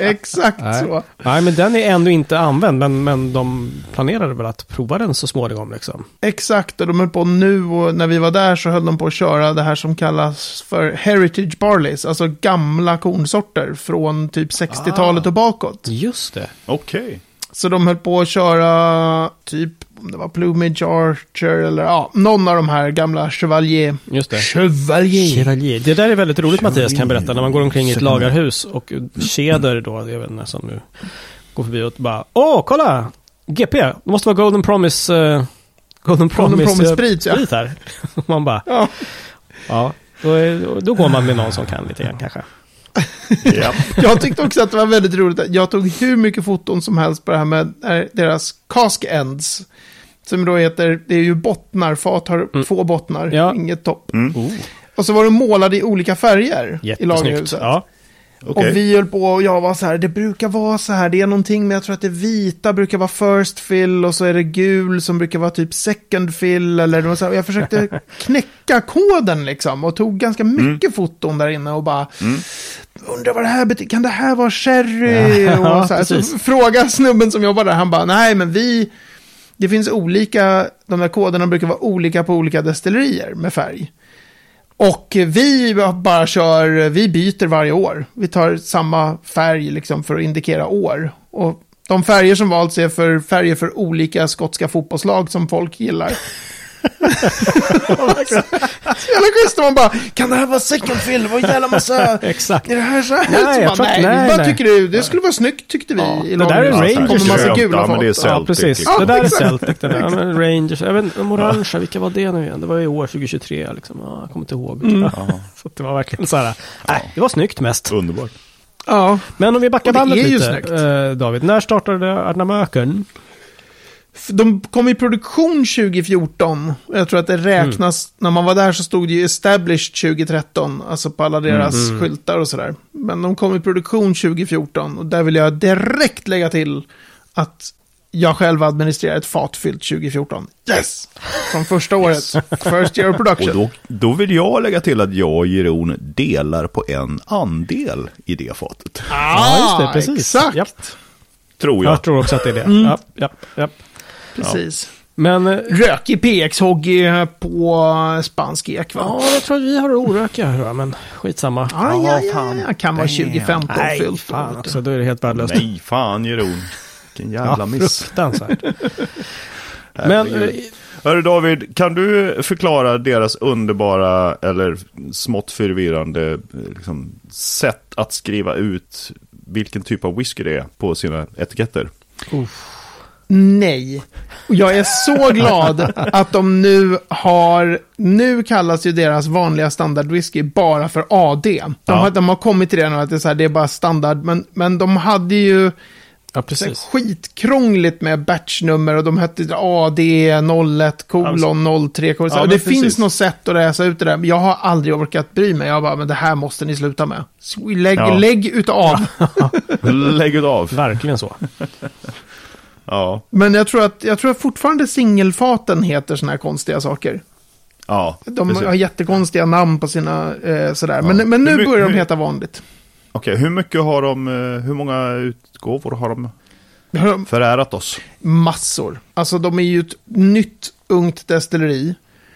B: exakt
A: Nej.
B: så.
A: Nej, men den är ännu inte använd. Men, men de planerar väl att prova den så småningom liksom.
B: Exakt, och de höll på nu och när vi var där så höll de på att köra det här som kallas för heritage barleys, alltså gamla kornsorter från typ
C: Ah.
B: 60-talet och bakåt.
A: Just det.
C: Okej.
B: Så de höll på att köra typ, om det var Plumage Archer eller ja, någon av de här gamla Chevalier.
A: Just det.
B: Chevalier.
A: Chevalier. Det där är väldigt roligt Mattias kan jag berätta. När man går omkring i ett lagerhus och keder då, det är väl nästan nu, går förbi och bara Åh, kolla! GP, det måste vara Golden Promise eh, Golden Promise,
B: Promise
A: eh,
B: sprit, ja.
A: sprit här. [laughs] man bara,
B: Ja,
A: ja. Då, är, då går man med någon som kan lite grann kanske.
C: Ja.
B: jag tyckte också att det var väldigt roligt. Jag tog hur mycket foton som helst på det här med eh, deras cask ends. Som då heter, det är ju bottnar, fat har få bottnar,
A: Mm. Ja.
B: inget topp.
A: Oh,
B: Och så var de målade i olika färger i
A: jättesnyggt.
B: lagerhuset.
A: Ja.
C: Okej.
B: Och vi höll på och jag var så här, det brukar vara så här, det är någonting men jag tror att det vita brukar vara first fill och så är det gul som brukar vara typ second fill eller det var så här, och
A: [laughs]
B: jag försökte knäcka koden liksom och tog ganska
A: Mm.
B: mycket foton där inne och bara undrar vad det här betyder, kan det här vara sherry?
A: Ja, [laughs]
B: och så, här. så
A: precis.
B: fråga snubben som jobbar där, han bara nej men vi, det finns olika, de där koderna brukar vara olika på olika destillerier med färg. Och vi bara kör, vi byter varje år. Vi tar samma färg liksom för att indikera år. Och de färger som valts är för färger för olika skotska fotbollslag som
A: [laughs]
B: folk gillar. Så jävla schysst man bara, kan det här vara second fill? Vad jävla massa...
A: [laughs] Exakt.
B: Är det här så här?
A: Nej,
B: Så
A: jag
B: bara,
A: tror att-
B: nej,
A: nej,
B: vad
A: nej.
B: tycker du? Det skulle vara snyggt tyckte vi.
A: Ja,
B: i
A: det där är
B: lagen.
A: Rangers.
B: Så kommer massa
C: Ja,
B: gula
C: men det är
B: folk.
C: så-
A: Ja,
C: Celtic,
A: precis.
C: liksom.
A: Det där är
B: Exakt.
A: Celtic. Det där. Ja, men Rangers. Jag vet, inte, de orangea, vilka var det nu igen? Det var ju år 2023. Liksom. Ja, jag kommer inte ihåg. [laughs] Så att det var verkligen så här. Nej, det var snyggt mest.
C: Underbart.
B: Ja,
A: Men om vi backar
B: Och det
A: bandet
B: är ju
A: lite,
B: snyggt.
A: eh, David. När startade Arnamöken?
B: F- De kom i produktion 2014. och Jag tror att det räknas, när man var där så stod det ju established 2013, alltså på alla deras skyltar och sådär. Men de kom i produktion 2014 och där vill jag direkt lägga till att jag själv administrerar ett fat fyllt 2014. Yes! Som första året. First year of
C: [laughs] Och
B: production.
C: då, då vill jag lägga till att jag och Jeroen delar på en andel i det fatet.
B: Ah, Exakt,
A: Japp.
C: Tror jag.
A: Jag tror också att det är det. Ja, ja, ja.
B: precis.
A: Men eh,
B: Rökig PX-hoggy eh, på spansk ek, va?
A: ja, jag tror att vi har orökiga, hör jag, men skitsamma.
B: Ah, ja, ja, ja, kan vara 2015
A: Nej,
B: fyllt.
A: fan alltså, då är det helt värdelöst.
C: Nej, fan Jeroen. Vilken jävla
A: ja,
C: miss.
A: fruktansvärt. men eh,
C: Herregud. Hörru David, kan du förklara deras underbara eller smått förvirrande eh, liksom, sätt att skriva ut vilken typ av whisky det är på sina etiketter?
B: Nej. Och jag är så glad att de nu har, nu kallas ju deras vanliga standardwhisky bara för AD. De,
C: Ja.
B: har, de har kommit till det nu att det är, så här, det är bara standard, men, men de hade ju
A: ja,
B: så här,
A: precis.
B: skitkrångligt med batchnummer och de hette AD 01 kolon 03 kolon.
C: Ja,
B: och det
C: men precis.
B: finns något sätt att läsa ut det där, men jag har aldrig orkat bry mig. Jag bara, men det här måste ni sluta med. Lägg,
C: Ja.
B: lägg utav.
C: Lägg ut av.
A: Verkligen så.
C: Ja,
B: Men jag tror att, jag tror att fortfarande singelfaten heter sådana här konstiga saker.
C: ja.
B: De
C: precis.
B: har jättekonstiga namn på sina eh, sådär. Men, men
C: Hur
B: nu
C: my-
B: börjar de
C: hur-
B: heta vanligt.
C: Okej, hur mycket har de, eh, hur många utgåvor har de
B: Nu har de
C: förärat oss?
B: Massor. Alltså de är ju ett nytt ungt destilleri.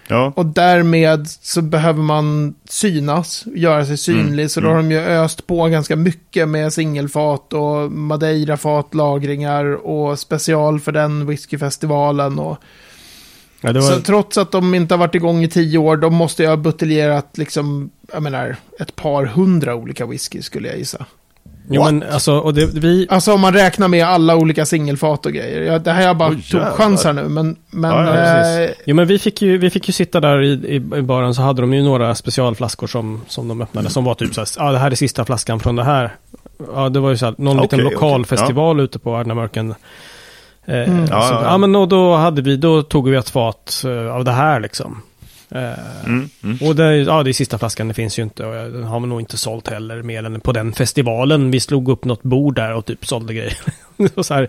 C: Ja,
B: Och därmed så behöver man synas, göra sig synlig. Så då har de ju öst på ganska mycket med singelfat och madeirafat, lagringar och special för den whiskyfestivalen. Och,
A: Ja, det
B: Så trots att de inte har varit igång i tio år, de måste ju ha buteljerat liksom, jag menar, ett par hundra olika whisky skulle jag gissa.
A: Jo, men alltså, och det, vi...
B: Alltså om man räknar med alla olika singelfat och grejer. Ja, det här jag bara
C: Oj,
B: tog
C: jävlar.
B: chansar nu, men... men
C: Ja, ja,
B: eh,
A: precis. Jo, men vi fick ju, vi fick ju sitta där i, i, i baren så hade de ju några specialflaskor som, som de
C: Mm.
A: öppnade. Som var typ så här, ja ah, det här är sista flaskan från det här. Ja, det var ju så här, någon liten
C: Okej,
A: lokal
C: okej.
A: festival ute på Arnamörken. Eh,
B: Mm.
A: så,
C: Ja, ja, ja.
A: ja, men och då hade vi, då tog vi ett fat eh, av det här liksom. Eh,
C: Mm, mm.
A: Och det, ja, det är sista flaskan, det finns ju inte. Och jag- den har man nog inte sålt heller, mer än på den festivalen. Vi slog upp något bord där och typ sålde grejer. [laughs] Det var så här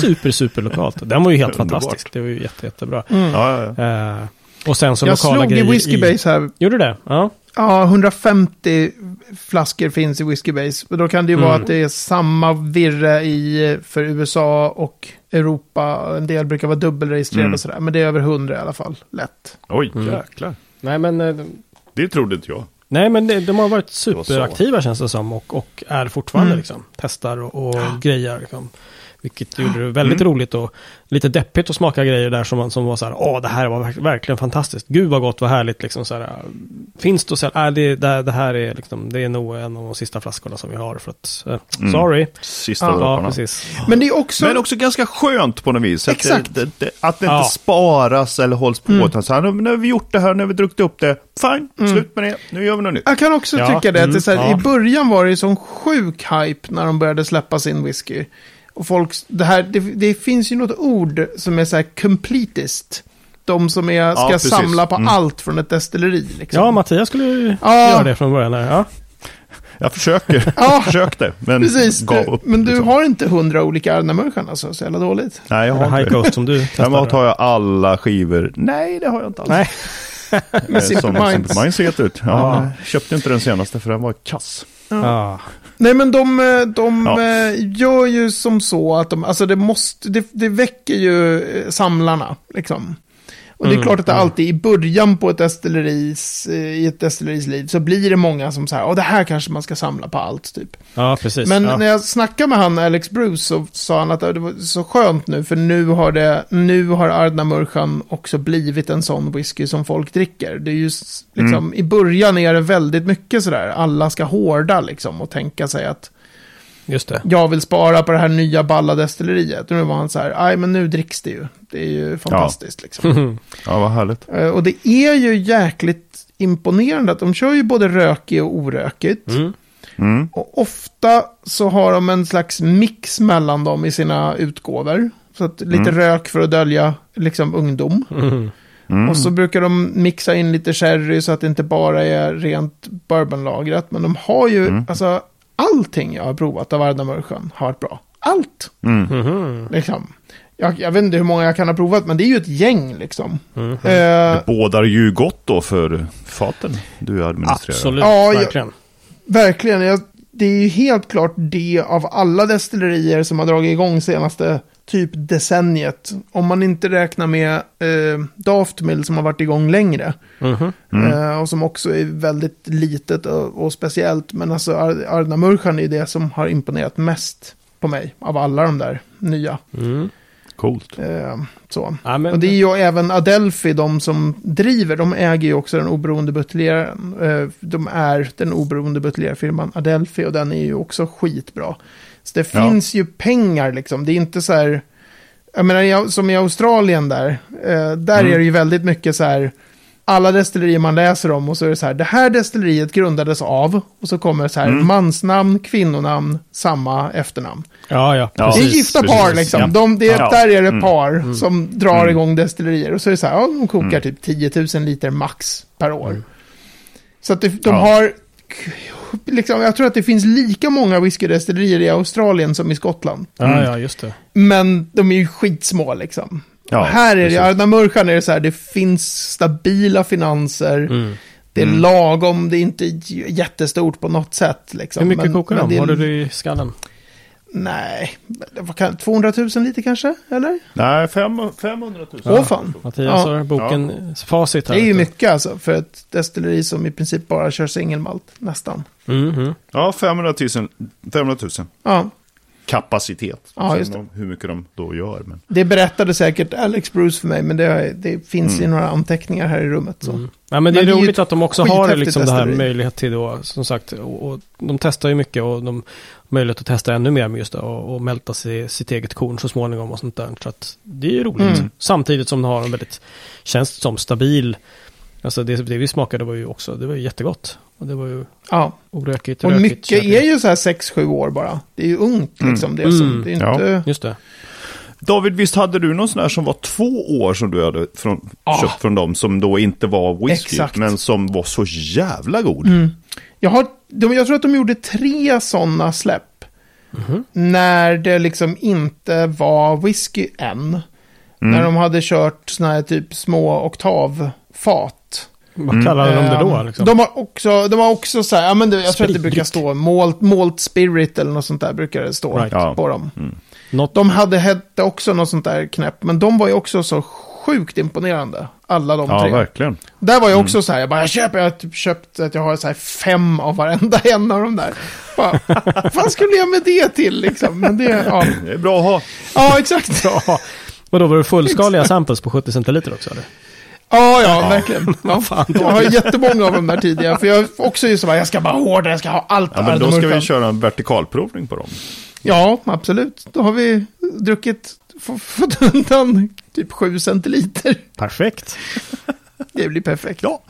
A: super, super lokalt. Den var ju helt
C: Underbart.
A: fantastisk. Det var ju jätte, jättebra.
B: mm.
C: Ja, ja, ja.
A: Eh, och sen så
B: Jag
A: lokala
B: slog i
A: grejer
B: Whiskey Base här
A: Gjorde du det? Ja.
B: Ja, 150 flaskor finns i Whiskey Base. Men Då kan det ju vara
A: Mm.
B: att det är samma virre i, för USA och Europa. En del brukar vara dubbelregistrerade
C: Mm.
B: och sådär. Men det är över 100 i alla fall, lätt.
C: Oj,
A: Mm.
C: jäklar.
A: Nej, men, eh,
C: Det trodde inte jag.
A: nej, men det- de har varit
C: var så.
A: superaktiva känns det som. Och, och är fortfarande
B: Mm.
A: liksom. Testar och, och grejer. Liksom. Vilket gjorde det väldigt
B: Mm.
A: roligt och lite deppigt att smaka grejer där som, man, som var så här, åh det här var verk- verkligen fantastiskt, gud vad gott, vad härligt liksom så här, äh, finns det att sälja, äh, det, det, det här är liksom, det är nog en av de sista flaskorna som vi har för att, äh,
C: Mm.
A: sorry.
C: Sista
B: Ja,
A: Ja,
C: dropparna.
A: precis.
C: Alltså.
B: Men det är också...
C: Men också ganska skönt på något vis. Att
B: Exakt.
C: Det, det, det, att det
A: Ja. Mm.
C: inte sparas eller hålls på. Utan så här, nu har vi gjort det här, nu har vi druckit upp det. Fine,
B: Mm.
C: slut med det. Nu gör vi något nytt.
B: Jag kan också
A: Ja,
B: tycka det. Att det är så här,
A: mm, ja.
B: I början var det ju sån sjuk hype när de började släppa sin whisky. Och folk, det, här, det, det finns ju något ord som är så här completist. De som är, ska
C: precis.
B: samla på
C: Mm.
B: allt från ett destilleri. Liksom.
A: Ja, Mattias skulle ju
B: Ja.
A: göra det från början där. Ja.
B: [laughs]
C: Jag [laughs] försöker,
B: Ja.
C: jag försökte, men
B: Precis,
C: gav
B: du,
C: upp.
B: men du
C: liksom.
B: har inte hundra olika Arna-människan alltså, så jävla
C: [laughs]
B: dåligt.
C: Nej, jag
A: Eller
C: har
A: High
C: inte.
A: Coast som du
C: Ja, men
A: testade.
C: tar jag alla skivor? Nej, det har jag inte alls.
A: Nej.
C: Eh, som
B: Simple
C: Simple
B: Minds.
C: Minds ser det ut. Ja,
A: Ja.
C: jag Köpte inte den senaste för den var kass.
A: Ja.
B: Nej men de, eh, de
C: Ja.
B: eh, gör ju som så att de, alltså det måste, det, det väcker ju eh, samlarna liksom. Och det är
A: Mm,
B: klart att det
A: mm.
B: alltid i början på ett destilleris, eh, i ett destilleris liv så blir det många som säger, ja det här kanske man ska samla på allt typ.
A: ja, precis.
B: Men eh,
A: ja.
B: när jag snackade med han Alex Bruce så sa han att "Ja, det var så skönt nu för nu har, det, nu har Ardna Murchan också blivit en sån whisky som folk dricker. Det är ju s- liksom,
A: Mm.
B: i början är det väldigt mycket sådär, alla ska hårda liksom och tänka sig att
A: Just det. [laughs]
B: jag vill spara på det här nya balla destilleriet. Och nu var han så här, nej men nu dricks det ju. Det är ju fantastiskt liksom.
A: Mm.
C: Ja, vad härligt.
B: Eh, Och det är ju jäkligt imponerande att de kör ju både rökig och orökigt.
A: Mm.
C: Mm.
B: Och ofta så har de en slags mix mellan dem i sina utgåvor. Så att lite rök för att dölja liksom ungdom.
A: Mm.
B: Och så brukar de mixa in lite sherry så att det inte bara är rent bourbonlagrat. Men de har ju,
A: Mm.
B: alltså allting jag har provat av Ardnamurchan har varit bra. Allt,
C: mm.
A: Mhm.
B: liksom. Jag, jag vet inte hur många jag kan ha provat, men det är ju ett gäng liksom.
A: Mm.
B: Eh,
C: Det bådar ju gott då för faten du administrerar.
A: Absolut,
B: Ja, jag-
A: verkligen.
B: Verkligen. Jag, det är ju helt klart det av alla destillerier som har dragit igång senaste typ decenniet. Om man inte räknar med eh, Daft Mill som har varit igång längre.
A: Mhm.
C: Mm,
B: Eh, och som också är väldigt litet och, och speciellt. Men alltså Ar Arna Murchan är det som har imponerat mest på mig av alla de där nya.
A: Mm.
C: Coolt.
B: Eh, så.
A: Ja, men,
B: Och det är ju även Adelphi, de som driver, de äger ju också den oberoende buteljeraren. Eh, De är den oberoende buteljerarfirman Adelphi och den är ju också skitbra. Så det
C: Ja.
B: finns ju pengar liksom, det är inte så här... Jag menar, jag- som i Australien där, eh, där är det ju väldigt mycket så här... Alla destillerier man läser om och så är det så här, det här destilleriet grundades av, och så kommer det så här, mansnamn, kvinnonamn, samma efternamn.
A: ja, ja,
C: Ja.
B: Det är
A: precis.
B: gifta
C: precis.
B: par liksom.
C: Ja.
B: De, det,
C: Ja.
B: Där är det par som drar igång destillerier. Och så är det så här, ja, de kokar typ 10 000 liter max per år. Så att det, de
C: Ja.
B: har, liksom, jag tror att det finns lika många whiskydestillerier i Australien som i Skottland.
A: Ja, ja, just det.
B: Men de är ju skitsmå liksom.
C: Ja,
B: Och här är det,
C: precis.
B: Arna Murchan är det så här, det finns stabila finanser.
A: Mm.
B: Det är lagom, det är inte j- jättestort på något sätt. Liksom.
A: Hur mycket
B: Men-
A: kokar
B: men
A: de?
B: är-
A: Har du det i skallen?
B: Nej, vad kan- 200 000 liter kanske? Eller?
C: Nej, fem- 500 000.
B: Åh fan.
A: Mattias
B: Ja.
A: har boken, facit här.
B: Det är ju
A: ute.
B: mycket alltså för ett destilleri som i princip bara kör singelmalt, nästan.
A: Mhm.
C: Ja, 500 000. 500 000.
B: Ja.
C: kapacitet.
B: Ja,
C: Sen
B: just det.
C: om Hur mycket de då gör. Men...
B: Det berättade säkert Alex Bruce för mig, men det, det finns i några anteckningar här i rummet. Så.
A: Mm. Ja, men det
B: Men
A: är
B: det är ju
A: roligt att de också har det,
B: skithäftigt
A: liksom det här
B: testeri.
A: möjlighet till då, som sagt, och, och de testar ju mycket och de möjlighet att testa ännu mer med just det och, och mälta sig, sitt eget korn så småningom och sånt där. Så att det är ju roligt.
B: Mm.
A: Samtidigt som de har en väldigt, känns det som, stabil, alltså det, det vi smakade var ju också, det var ju jättegott. Och det var ju
B: Ja.
A: orökigt,
B: Och
A: rökigt,
B: mycket är ju så här 6-7 år bara. Det är ju ungt liksom. Det, är
A: Mm.
B: som, det är
C: Ja.
B: inte...
A: Just det.
C: David, visst hade du någon sån här som var två år som du hade från, köpt från dem som då inte var whisky,
B: Exakt.
C: men som var så jävla god?
A: Mm.
B: Jag, har, de, jag tror att de gjorde tre sådana släpp. När det liksom inte var whisky än. När de hade kört sådana här typ små oktavfat.
A: Vad
C: Mm.
A: kallade de det då?
B: Ehm,
A: Liksom?
B: De har också, de har också så här, ja, men det, jag tror att det brukar
A: Spritdryck.
B: stå malt, malt spirit eller något sånt där brukar det stå
A: Right.
C: Ja. Mm.
B: på dem.
A: Något,
B: De hade hette också något sånt där knäpp, men de var ju också så sjukt imponerande. Alla de
C: Ja, Mm.
B: tre.
C: verkligen.
B: Där var jag också så här, jag bara, jag köper, jag har typ köpt att jag har så här fem av varenda [laughs] en av de där. Bara, Vad fan skulle jag med det till liksom? Men det, ja.
C: Det är bra att ha.
A: [laughs]
B: ja, exakt. Ja,
A: vadå, var det fullskaliga samples på 70 centiliter också? Eller?
B: ja,
A: [laughs]
B: verkligen. Ja. Jag har jättemånga av de där tidigare, för jag är också ju så här, jag ska bara hårdare, jag ska ha allt.
C: Ja,
B: av
C: men
B: det
C: då ska vi
B: mörka.
C: köra en vertikalprovning på dem.
B: Ja, absolut. Då har vi druckit, få- fått undan typ sju centiliter.
A: Perfekt.
B: Det blir perfekt.
C: Ja.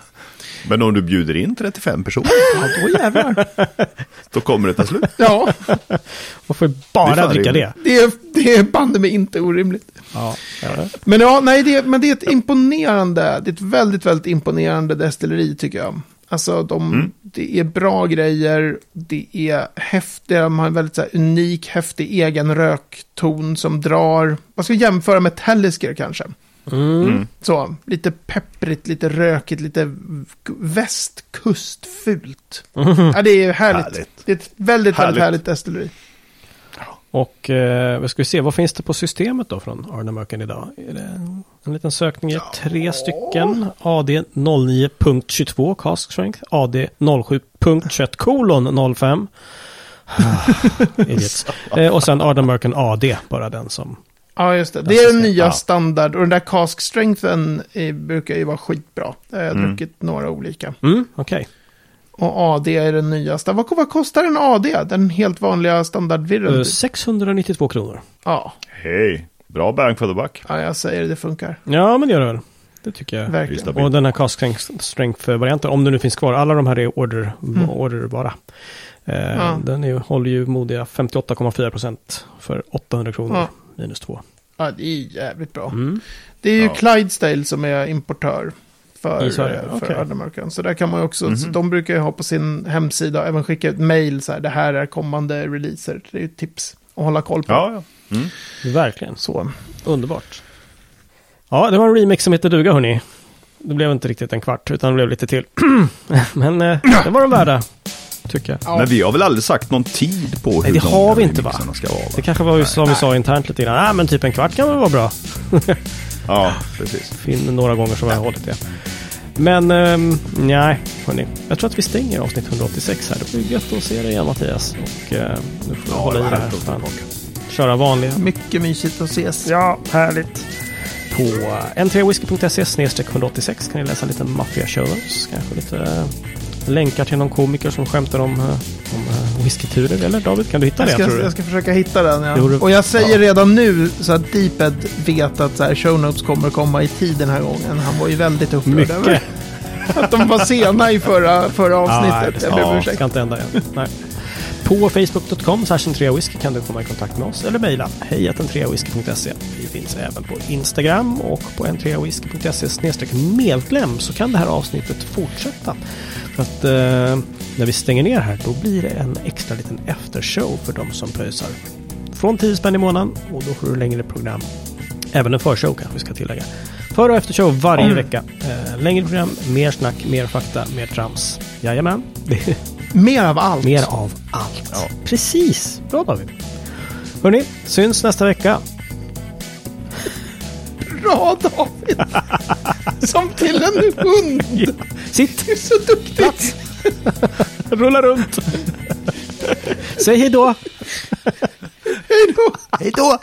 C: Men om du bjuder in 35 personer,
A: [laughs]
B: Ja, då jävlar.
C: då kommer det ta slut.
B: [laughs] Ja,
A: Man får ju
C: Det är
A: bara
C: fan
A: dricka det.
C: rimligt.
B: det är, det är banne mig inte orimligt.
A: Ja, ja.
B: Men ja, nej, det, men det är ett imponerande, det är ett väldigt, väldigt imponerande destilleri tycker jag. Alltså, de, det är bra grejer, det är häftigt, de har en väldigt så här, unik, häftig egen rökton som drar. Man ska jämföra med Talisker kanske.
A: Mm.
C: Mm.
B: Så, lite pepprigt, lite rökigt, lite k- västkustfult. Ja, det är härligt.
C: Härligt.
B: Det är ett väldigt,
C: Härligt.
B: väldigt härligt destilleri.
A: [laughs] Och eh, vad ska vi se, vad finns det på systemet då från Arnamöken idag? Är det en liten sökning, är tre stycken. AD 09.22 Cask Strength, AD 07.21 kolon 05. [laughs] Idiots. eh, och sen Arnamöken AD, bara den som...
B: Ja, just det. Det är den
A: ska-
B: nya
A: ja.
B: standard. Och den där cask strengthen eh, brukar ju vara skitbra. Jag har jag druckit några olika.
A: Mm, okej.
B: Och AD är den nya. sta- Vad, vad kostar en AD? Den helt vanliga standardvirren?
A: Eh,
B: typ.
A: 692 kronor.
B: Ja.
C: Hej, bra bang for the buck.
B: ja, jag säger det funkar.
A: Ja, men det gör det väl. Det tycker jag.
C: Visst,
B: Verkligen.
C: stabilt.
A: Och den här Cask Strength- Strength-varianten, om den nu finns kvar, alla de här är order, orderbara. Eh,
B: Mm. Ja.
A: Den är, ju- håller ju modiga 58,4% för 800 kronor
B: Ja.
A: minus 2.
B: Ja, det är jävligt bra.
A: Mm.
B: Det är ju
C: Ja.
B: Clydesdale som är importör för,
A: I Sverige,
B: eh, för
A: okej. Mhm.
B: Ardemurkan. Så där kan man ju också, så de brukar ju ha på sin hemsida, och även skicka ut mail så här, det här är kommande releaser. Det är ju ett tips att hålla koll på.
C: Ja, ja.
A: Verkligen,
B: Så.
A: underbart. Ja, det var en remix som hette duga hörni. Det blev inte riktigt en kvart, utan det blev lite till. [clears throat] Men eh, det var de värda, tycker jag.
B: Ja.
C: Men vi har väl aldrig sagt någon tid på hur
A: Nej, det
C: långa
A: har vi inte, va?
C: remixarna ska vara?
A: Det
C: va?
A: kanske var ju som vi sa internt lite grann, ah, men typ en kvart kan väl vara bra.
C: Ja, precis.
A: Finn några gånger som jag har hållit det. Men um, nej, hörni. Jag tror att vi stänger avsnitt 186 här. Det blir gött att se dig igen Mattias. Och eh, nu får vi hålla i det här. Fan. Köra vanliga.
B: Mycket mysigt att ses.
A: Ja, härligt. På n3whisky.se 186 kan ni läsa lite maffia shows. Kanske lite eh, länkar till någon komiker som skämtar om, eh, om eh, whiskyturer. Eller David, kan du hitta
B: Jag
A: det?
B: ska,
A: tror du?
B: jag ska försöka hitta den.
A: Jo, det-
B: Ja. Och jag säger redan nu så att Deeped vet att så här, show notes kommer komma i tid den här gången. Han var ju väldigt upprörd
A: Mycket.
B: över att de var sena i
A: [laughs]
B: förra, förra
A: nej,
B: avsnittet.
A: det
B: jag ber om
A: Ah, ska,
B: ursäkt.
A: ska inte hända igen. Nej. På facebook.com whisky kan du komma i kontakt med oss eller mejla hejatentreawhisky.se. Vi finns även på Instagram och på entreawhisky.se medlem så kan det här avsnittet fortsätta. För att eh, när vi stänger ner här då blir det en extra liten eftershow för de som pröjsar. Från 10 spänn i månaden och då får du längre program Även en förshow kanske vi ska tillägga. För och eftershow varje vecka. Eh, längre program, mer snack, mer fakta, mer trams. Jajamän, det är
B: Mer av allt.
A: mer av allt. Precis, bra David. Hörni, syns nästa vecka.
B: Bra David! Som till en hund.
A: [laughs] Sitt,
B: Du är så duktig.
A: rulla runt. Säg hej då.
B: Hej
E: Hej då!
B: Hej då!